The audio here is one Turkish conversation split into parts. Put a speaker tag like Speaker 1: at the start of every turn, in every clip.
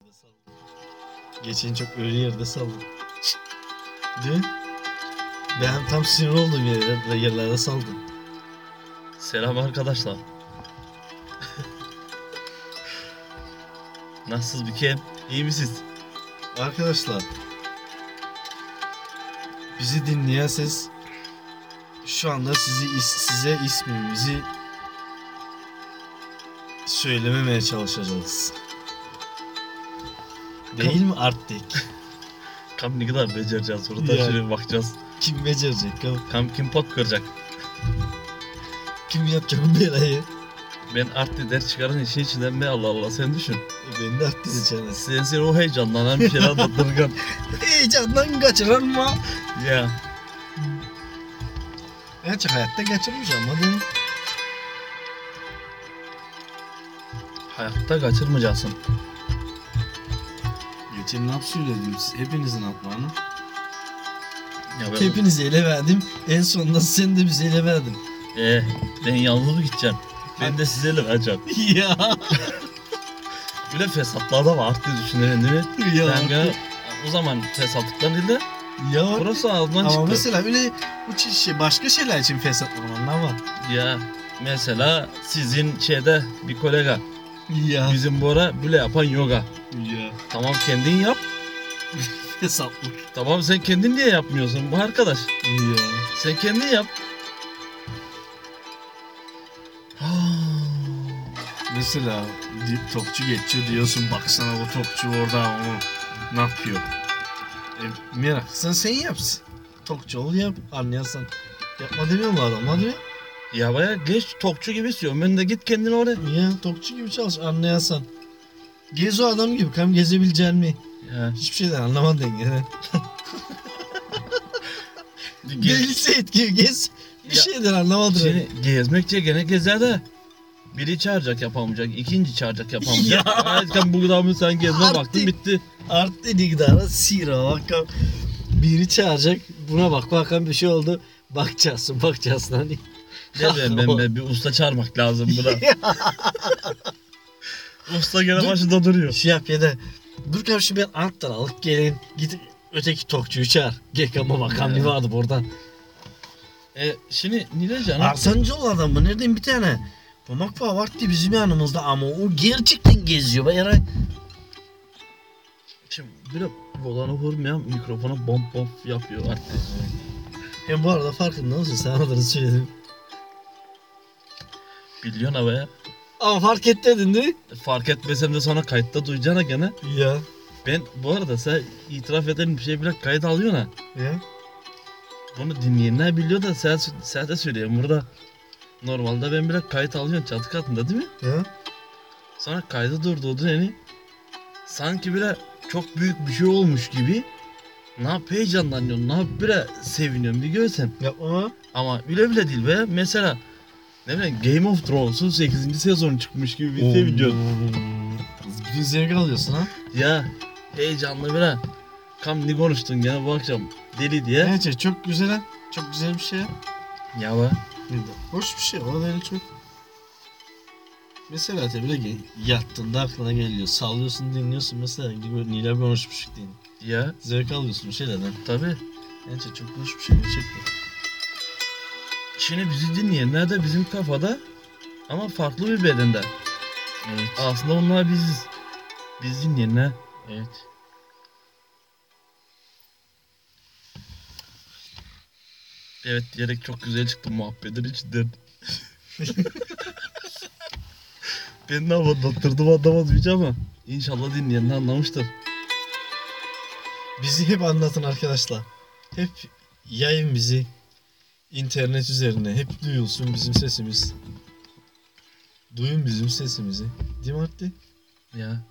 Speaker 1: saldım. Geçen çok ölü yerde saldım. Dün ben tam sinir olduğum yerlerde, yerlerde saldım.
Speaker 2: Selam arkadaşlar. Nasılsınız Bükem? İyi misiniz?
Speaker 1: Arkadaşlar bizi dinleyen siz şu anda sizi is- size ismimizi söylememeye çalışacağız. Değil mi Arttik?
Speaker 2: Kam ne kadar becereceğiz burada
Speaker 1: Ya.
Speaker 2: şöyle bir bakacağız.
Speaker 1: Kim becerecek? ya?
Speaker 2: Kam kim pot kıracak?
Speaker 1: Kim yapacak bu belayı?
Speaker 2: Ben artı der çıkarın işin içinden be Allah Allah sen düşün.
Speaker 1: Beni E, de Arttik içeri.
Speaker 2: Sen sen o heyecanlanan bir şeyler anlatırken.
Speaker 1: Heyecandan kaçırılma.
Speaker 2: ya
Speaker 1: Gerçi hayatta geçirmiş ama değil mi?
Speaker 2: hayatta kaçırmayacaksın.
Speaker 1: Geçen laf söyledim siz- hepinizin laflarını.
Speaker 2: Ya ben,
Speaker 1: Hepinizi ele verdim. En sonunda sen de bizi ele verdin.
Speaker 2: Ee, ben yalnız mı gideceğim? Ben de size ele vereceğim.
Speaker 1: ya.
Speaker 2: Böyle fesatlar da var artık düşünelim değil mi?
Speaker 1: ya.
Speaker 2: Ben gene- o zaman fesatlıktan değil de
Speaker 1: ya.
Speaker 2: burası ağzından
Speaker 1: Ama
Speaker 2: çıktı.
Speaker 1: mesela öyle bu çi- şey, başka şeyler için fesat olmanın ama.
Speaker 2: Ya mesela sizin şeyde bir kolega
Speaker 1: Ya.
Speaker 2: bizim Bora böyle yapan yoga.
Speaker 1: Ya.
Speaker 2: Tamam kendin yap.
Speaker 1: Fesatlık.
Speaker 2: Tamam sen kendin niye yapmıyorsun bu arkadaş?
Speaker 1: Ya.
Speaker 2: Sen kendin yap. Ah,
Speaker 1: Mesela di- topçu geçiyor diyorsun baksana o topçu orada onu ne yapıyor? E, meraklısın sen yapsın. Topçu ol yap anlayasan. Yapma demiyorlar adam hadi.
Speaker 2: ya baya geç tokçu gibi istiyorum. Ben de git kendin oraya.
Speaker 1: Ya topçu gibi çalış anlayasan. Gez o adam gibi kam gezebilecek mi?
Speaker 2: Ya,
Speaker 1: Hiçbir şeyden anlamadın gene.
Speaker 2: gez,
Speaker 1: Gez et gibi gez. Bir
Speaker 2: Ya,
Speaker 1: şeyden anlamadın.
Speaker 2: şey, gezmekçe gene gezer de. Biri çağıracak yapamayacak, ikinci çağıracak yapamayacak.
Speaker 1: Ya.
Speaker 2: Hayat sen bu kadar mı sen gezme
Speaker 1: Artık.
Speaker 2: baktın bitti.
Speaker 1: Art dedik daha da sira bak kam. Biri çağıracak buna bak bakan bir şey oldu. Bakacaksın bakacaksın hani.
Speaker 2: Ne ben, ben, ben bir usta çağırmak lazım buna. usta gene başında duruyor.
Speaker 1: şey yap ya da dur kardeşim ben Ant'tan alıp gelin git öteki tokçuyu çağır. GKM'a bakan bir vardı buradan.
Speaker 2: E şimdi Nilecan
Speaker 1: Arsancılardan mı? Nereden bir tane? Pamak var vakti bizim yanımızda ama o gerçekten geziyor. Ben yaray...
Speaker 2: şimdi böyle volanı vurmayan mikrofona bom bom yapıyor artık.
Speaker 1: Hem bu arada farkında mısın? Sen adını söyledim.
Speaker 2: Biliyorsun ama ya.
Speaker 1: Ama fark et dedin değil mi?
Speaker 2: Fark etmesem de sonra kayıtta duyacağına gene.
Speaker 1: Ya.
Speaker 2: Ben bu arada sen itiraf eden bir şey bile kayıt alıyorsun ha.
Speaker 1: Ya.
Speaker 2: Bunu dinleyenler biliyor da sen, sen de söylüyorsun burada. Normalde ben bile kayıt alıyorum çatı katında değil mi?
Speaker 1: Ya.
Speaker 2: Sonra kaydı durdurdu yani. Sanki bile çok büyük bir şey olmuş gibi. Ne yap heyecanlanıyorsun, ne yap bile seviniyorsun bir görsen.
Speaker 1: Yapma.
Speaker 2: Ama bile bile değil be. Mesela ne bileyim Game of Thrones'un 8. sezonu çıkmış gibi bir şey video.
Speaker 1: Bütün zevk alıyorsun ha.
Speaker 2: Ya heyecanlı bile. Kam ne konuştun gene bu akşam deli diye.
Speaker 1: Neyse çok güzel ha. Çok güzel bir şey ha.
Speaker 2: Ya be.
Speaker 1: Ne de Hoş bir şey. O da öyle çok. Mesela tabii de ki yattığında aklına geliyor. Sallıyorsun dinliyorsun mesela. Gibi Nilay konuşmuş diye.
Speaker 2: Ya
Speaker 1: Zevk alıyorsun bir şeylerden.
Speaker 2: tabi.
Speaker 1: Neyse çok hoş bir şey gerçekten.
Speaker 2: Şimdi bizi dinleyenler de bizim kafada ama farklı bir bedende.
Speaker 1: Evet.
Speaker 2: Aslında onlar biziz. Biz dinleyenler.
Speaker 1: Evet.
Speaker 2: Evet diyerek çok güzel çıktı muhabbetin içinden. ben ne anlattırdım anlamamayacağım ama inşallah dinleyen de anlamıştır.
Speaker 1: Bizi hep anlatın arkadaşlar. Hep yayın bizi. internet üzerine hep duyulsun bizim sesimiz. Duyun bizim sesimizi. Değil mi Artti?
Speaker 2: Ya.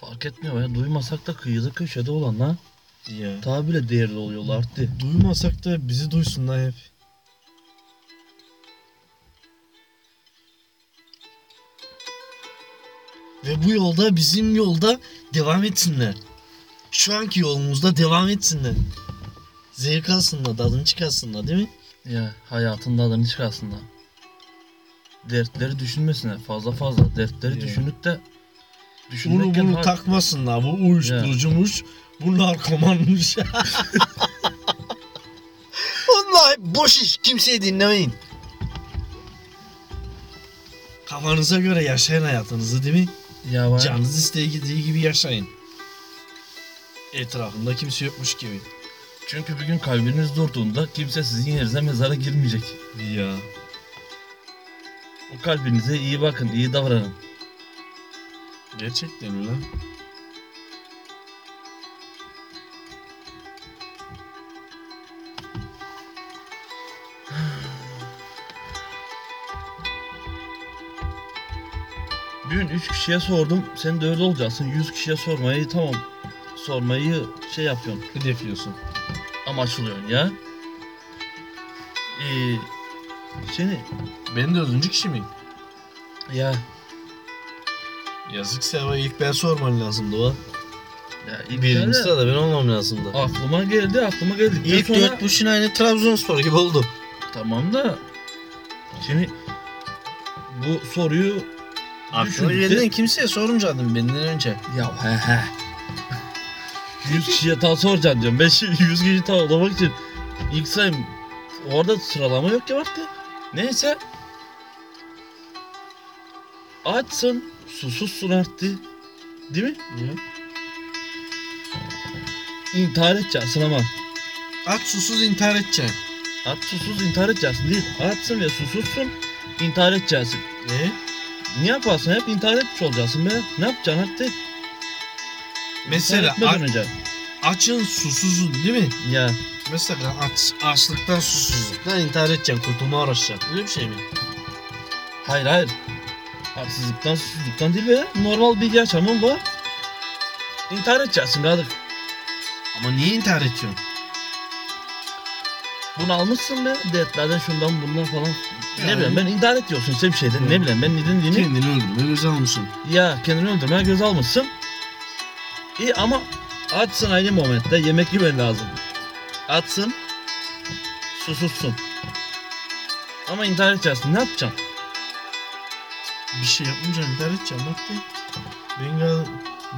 Speaker 2: Fark etmiyor ya duymasak da kıyıda köşede olanlar
Speaker 1: Ya.
Speaker 2: daha bile değerli oluyorlar arttı.
Speaker 1: Duymasak da bizi duysunlar hep. Ve bu yolda bizim yolda devam etsinler. Şu anki yolumuzda devam etsinler. Zevk alsınlar, tadını çıkarsınlar değil mi?
Speaker 2: Ya hayatında adını çıkarsın da. Dertleri düşünmesinler fazla fazla. Dertleri
Speaker 1: Ya.
Speaker 2: düşünüp de
Speaker 1: Bunu
Speaker 2: Düşünürken
Speaker 1: bunu
Speaker 2: hak-
Speaker 1: takmasınlar. Bu uyuşturucumuş. Bu narkomanmış.
Speaker 3: Vallahi boş iş. Kimseyi dinlemeyin.
Speaker 1: Kafanıza göre yaşayın hayatınızı değil mi?
Speaker 2: ya var.
Speaker 1: Canınız istediği gibi yaşayın. Etrafında kimse yokmuş gibi.
Speaker 2: Çünkü bir gün kalbiniz durduğunda kimse sizin yerinize mezara girmeyecek.
Speaker 1: Ya.
Speaker 2: O kalbinize iyi bakın, iyi davranın.
Speaker 1: Gerçekten mi lan?
Speaker 2: Dün 3 kişiye sordum, sen de öyle olacaksın. 100 kişiye sormayı tamam, sormayı şey yapıyorsun,
Speaker 1: Hedefliyorsun.
Speaker 2: amaçlıyorsun ya. Ee, seni,
Speaker 1: Ben dördüncü kişi miyim?
Speaker 2: ya,
Speaker 1: Yazık Seva ilk ben sorman lazımdı o.
Speaker 2: ya ilk
Speaker 1: Birinci
Speaker 2: kere
Speaker 1: sırada ben olmam lazımdı.
Speaker 2: aklıma geldi, aklıma geldi.
Speaker 1: İlk
Speaker 2: sonra,
Speaker 1: dört buçuk aynı Trabzonspor gibi oldu.
Speaker 2: Tamam da, şimdi bu soruyu
Speaker 1: Aklına
Speaker 2: düşündük de-
Speaker 1: gelen kimseye sormayacaktım benden önce.
Speaker 2: Ya he he. 100 kişiye daha soracaksın diyorum. Ben şimdi 100 kişi tavlamak için ilk sayım orada sıralama yok ki baktı. Neyse. Açsın, susuzsun artık. Değil mi? İntihar edeceksin ama.
Speaker 1: Aç susuz intihar edeceksin.
Speaker 2: Aç susuz intihar edeceksin değil. Açsın ve susuzsun intihar edeceksin.
Speaker 1: Ne?
Speaker 2: Ne yaparsan hep intihar etmiş olacaksın be. Ne yapacaksın artık?
Speaker 1: Mesela
Speaker 2: İntihar etmeden
Speaker 1: a-
Speaker 2: önce.
Speaker 1: açın susuzun değil mi?
Speaker 2: Ya
Speaker 1: Mesela aç, açlıktan susuzluktan intihar edeceksin. Kurtulma uğraşacaksın. Öyle bir şey mi?
Speaker 2: Hayır hayır. Haksızlıktan, susuzluktan değil be. Normal bir yaşamın var. İntihar edeceksin kadık.
Speaker 1: Ama niye intihar ediyorsun?
Speaker 2: Bunu almışsın be. Dertlerden şundan bundan falan.
Speaker 1: Yani.
Speaker 2: Ne bileyim ben intihar ediyorsun sen bir şeyden. Ne
Speaker 1: Evet.
Speaker 2: bileyim ben neden dini.
Speaker 1: Kendini öldürme göz almışsın.
Speaker 2: Ya kendini öldürmeye göz almışsın. İyi ama açsın aynı momentte yemek yemen lazım. Açsın. Susuzsun. Ama intihar edeceksin. Ne yapacaksın?
Speaker 1: Bir şey yapmayacaksın intihar edeceksin. Bak de. Ben galiba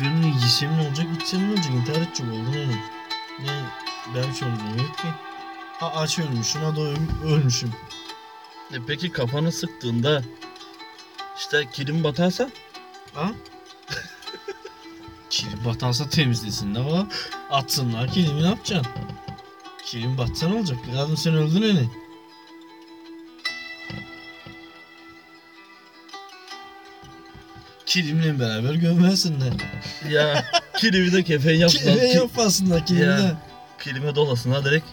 Speaker 1: benim yesem ne olacak içsem ne olacak intihar edecek oldum yani. Ne ben bir şey olmuyor yok ki. Ha aç ölmüşüm ha doyum ölmüşüm.
Speaker 2: E peki kafanı sıktığında işte kilim batarsa
Speaker 1: Ha? Kilim batansa temizlesin ne var? Atsınlar kilimi ne yapacaksın? Kilim batsa ne olacak? Kadın sen öldün öyle. Kilimle beraber gömersinler.
Speaker 2: Ya kilimi de kefen yaptılar.
Speaker 1: Kilime
Speaker 2: Ki-
Speaker 1: yapmasınlar kilimi
Speaker 2: Ya.
Speaker 1: de.
Speaker 2: kilime dolasın ha direkt.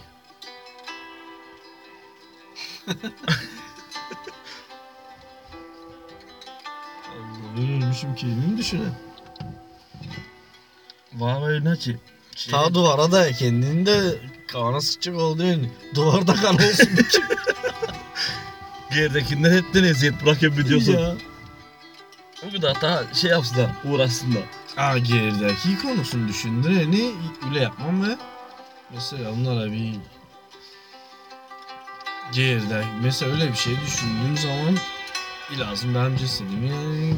Speaker 1: Allah ben ölmüşüm kilimi mi düşüne?
Speaker 2: Vay vay ne ki? Şey-
Speaker 1: Ta duvara da kendini de kavana sıçacak oldu yani. Duvarda kan olsun.
Speaker 2: Geridekinden hepten eziyet bırakıp biliyorsun.
Speaker 1: Ya.
Speaker 2: O kadar daha şey yapsın da uğraşsın da.
Speaker 1: Aa gerideki konusunu düşündüreni öyle yapmam ve mesela onlara bir geride mesela öyle bir şey düşündüğüm zaman lazım daha önce istediğimi yani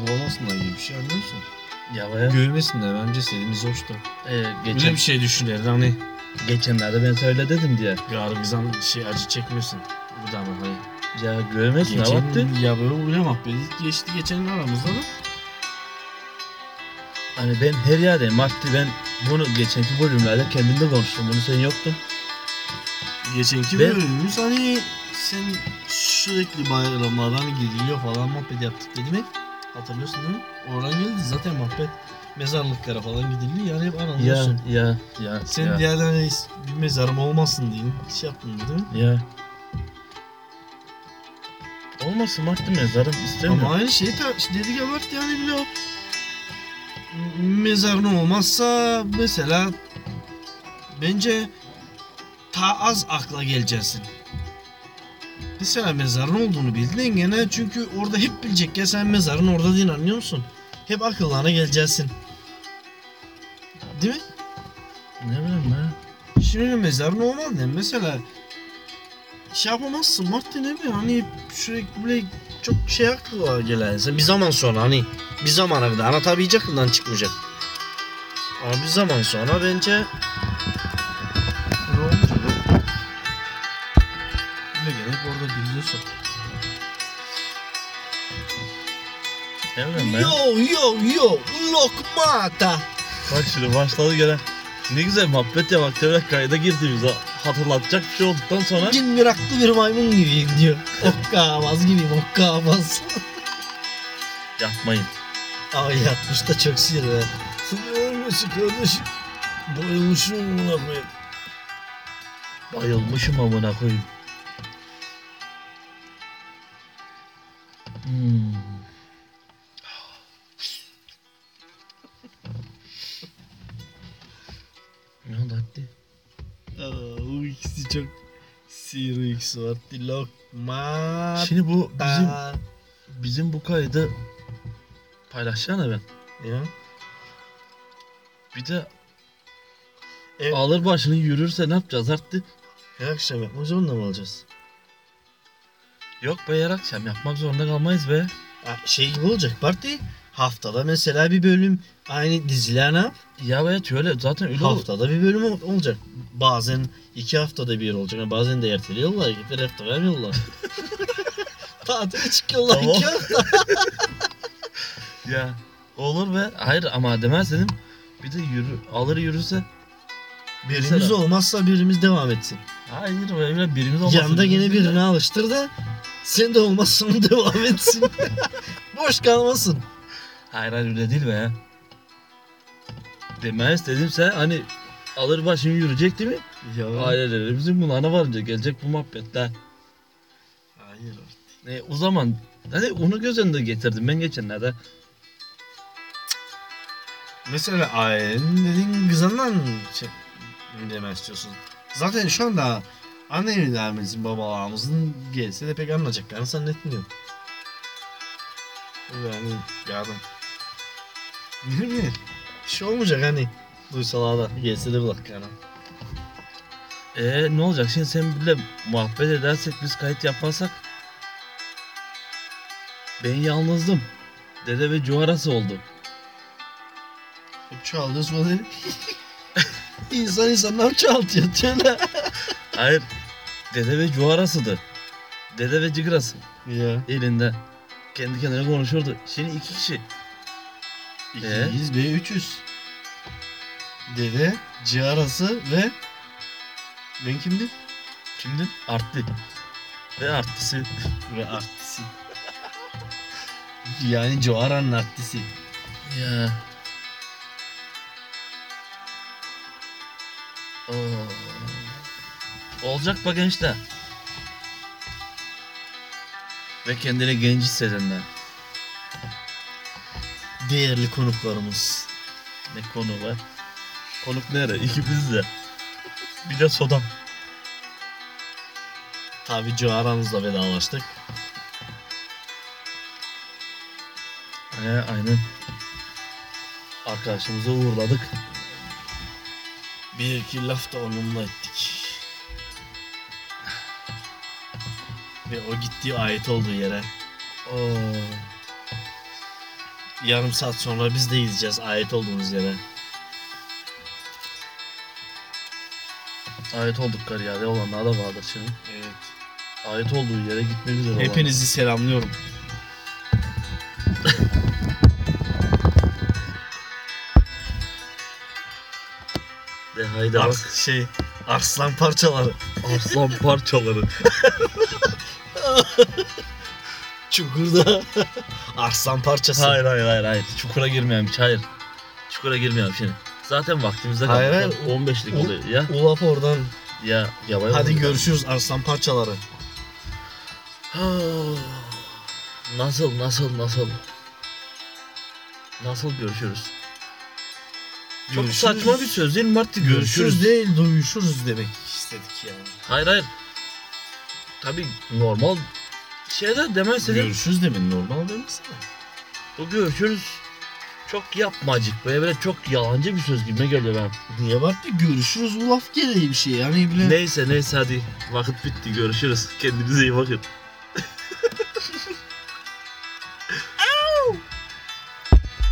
Speaker 1: bulamasınlar gibi bir şey anlıyor musun?
Speaker 2: Ya be.
Speaker 1: Görmesinler bence istediğimiz hoştu.
Speaker 2: Ee,
Speaker 1: Öyle
Speaker 2: geçen,
Speaker 1: bir şey düşünürler hani
Speaker 2: şey- geçenlerde ben söyle dedim diye.
Speaker 1: gargızan şey acı çekmesin. Bu da ama hani.
Speaker 2: Ya görmesin ne baktı?
Speaker 1: Geçen, ya böyle oluyor muhabbet geçti geçen aramızda da.
Speaker 2: Hani ben her yerde Mart'ti ben bunu geçenki bölümlerde kendimde konuştum. Bunu sen yoktun.
Speaker 1: Geçenki
Speaker 2: Ben-
Speaker 1: bölümümüz hani sen sürekli bayramlardan gidiliyor falan muhabbet yaptık dedi mi? Hatırlıyorsun değil mi? Oradan geldi zaten muhabbet. Mezarlıklara falan gidiliyor yani hep
Speaker 2: Ya
Speaker 1: anılıyorsun.
Speaker 2: ya ya.
Speaker 1: Sen
Speaker 2: ya.
Speaker 1: diğerlerine hiç bir mezarım olmasın diye şey yaptın değil mi?
Speaker 2: ya. Olmasın Mart'ı mezarım istemiyorum.
Speaker 1: Ama aynı şey ta- dedi ya bak yani bile o mezarın olmazsa mesela bence ta az akla geleceksin. Mesela mezarın olduğunu bildin gene çünkü orada hep bilecek ya sen mezarın orada değil anlıyor musun? Hep akıllarına geleceksin. Değil mi?
Speaker 2: Ne bileyim ben.
Speaker 1: Şimdi mezarın olmaz ne mesela şey yapamazsın Martin abi hani sürekli böyle çok şey aklıma gelen. Sen bir zaman sonra hani bir zamana kadar anlatabilecek kıldan çıkmayacak. Ama bir zaman sonra bence
Speaker 4: Ne olacak? Ne gerek orada biliyorsun.
Speaker 2: Emre ben.
Speaker 1: yo yo yo lokmata.
Speaker 2: Bak şimdi başladı gene. Ne güzel muhabbet ya bak tekrar kayda girdiğimizde hatırlatacak bir şey olduktan sonra
Speaker 1: Cin miraklı bir maymun gibiyim diyor. Okkavaz gibiyim okkavaz.
Speaker 2: yapmayın.
Speaker 1: Ay yatmış da çok sinir be. Ölmüşsün kardeşim. Bayılmışım buna koyayım.
Speaker 2: Bayılmışım amına koyayım. Hmm. Ne oldu Hadi?
Speaker 1: Aa, bu ikisi çok sihirli ikisi var. Lokmata.
Speaker 2: Şimdi bu Şey, bizim bizim bu kaydı paylaşacağına ben.
Speaker 1: Ya.
Speaker 2: Bir de
Speaker 1: Evet.
Speaker 2: alır başını yürürse ne yapacağız Hadi?
Speaker 1: Her akşam yapmak zorunda mı olacağız?
Speaker 2: Yok be yer akşam yapmak zorunda kalmayız be.
Speaker 1: Ha, şey gibi olacak parti. Haftada mesela bir bölüm aynı diziler ne yap?
Speaker 2: Ya be şöyle zaten öyle olur.
Speaker 1: Haftada bir bölüm ol- olacak. Bazen iki haftada bir olacak. ama Bazen de erteliyorlar. Gitler hafta vermiyorlar. Tatile çıkıyorlar
Speaker 2: Tamam.
Speaker 1: iki hafta.
Speaker 2: Ya olur be. Hayır ama demez dedim. Bir de yürü, alır yürürse.
Speaker 1: Birimiz
Speaker 2: Mesela.
Speaker 1: olmazsa birimiz devam etsin.
Speaker 2: Hayır be öyle birimiz olmasın.
Speaker 1: Yanında gene birini alıştır da sen de olmazsan devam etsin. Boş kalmasın.
Speaker 2: Hayır hayır öyle değil be. Demez dedimse hani alır başını yürüyecek değil mi?
Speaker 4: Ya
Speaker 2: Ailelerimizin kulağına varınca gelecek bu muhabbetler.
Speaker 4: hayır.
Speaker 2: E, o zaman hani onu göz önünde getirdim ben geçenlerde.
Speaker 4: Mesela ailenin dediğin kızından şey, demek istiyorsun. Zaten şu anda annelerimizin babalarımızın gelse de pek anlayacaklarını zannetmiyorum. Yani yardım. Ne bileyim.
Speaker 1: Bir şey olmayacak hani. Duysalar da gelse de kulaklarına.
Speaker 2: E ne olacak şimdi sen bile muhabbet edersek biz kayıt yapmazsak? Ben yalnızdım. Dede ve cuharası oldu.
Speaker 1: Çaldırız mı dedi. İnsan insanlar çaltıyor tüyle.
Speaker 2: Hayır. Dede ve cuharasıdır. Dede ve cigırası
Speaker 1: Ya.
Speaker 2: elinde. Kendi kendine konuşuyordu. Şimdi iki kişi. Ee?
Speaker 1: İkiyiz ve üçüz. E? Dede, ciğarası ve... Ben kimdim?
Speaker 2: Kimdi? Arttı. Ve arttısı.
Speaker 1: Ve artisi. yani Coara'nın artisi.
Speaker 2: Ya. Oo. Olacak bak gençler. Ve kendini genç hissedenler.
Speaker 1: Değerli konuklarımız.
Speaker 2: Ne konu var? Konuk nere? İkimiz de. Bir de soda.
Speaker 1: Tabi Coara'mızla vedalaştık.
Speaker 2: Ee, aynen. Arkadaşımızı uğurladık.
Speaker 1: Bir iki laf da onunla ettik. Ve o gittiği ait olduğu yere
Speaker 2: Oo.
Speaker 1: yarım saat sonra biz de gideceğiz ait olduğumuz yere.
Speaker 2: Ait olduk kariyerde olanlar da vardır şimdi.
Speaker 4: Evet.
Speaker 2: Ait olduğu yere gitmek üzere olan.
Speaker 4: Hepinizi selamlıyorum.
Speaker 2: De haydi bak.
Speaker 1: Ars, şey, arslan parçaları.
Speaker 2: Aslan parçaları.
Speaker 1: Çukurda arslan parçası.
Speaker 2: Hayır hayır hayır hayır. Çukura girmeyelim hiç hayır. Çukura girmeyelim şimdi. Zaten vaktimizde kaldı.
Speaker 1: Hayır, hayır.
Speaker 2: 15'lik oluyor ya.
Speaker 1: Ulap oradan.
Speaker 2: Ya yavaş.
Speaker 1: Hadi görüşürüz arslan parçaları.
Speaker 2: Nasıl nasıl nasıl? Nasıl görüşürüz?
Speaker 1: Görüşürüz.
Speaker 2: Çok saçma bir söz değil mi Mart'ı görüşürüz.
Speaker 1: Görüşürüz değil, duyuşuruz demek istedik yani.
Speaker 2: Hayır hayır. Tabii normal şeyler demezse de
Speaker 1: Görüşürüz demin normal değil mi sana?
Speaker 2: bu görüşürüz çok yapmacık böyle, böyle çok yalancı bir söz gibi geliyor ben.
Speaker 1: Niye baktı? Görüşürüz ulaf gereği bir şey yani bile.
Speaker 2: Neyse neyse hadi vakit bitti görüşürüz. Kendinize iyi bakın.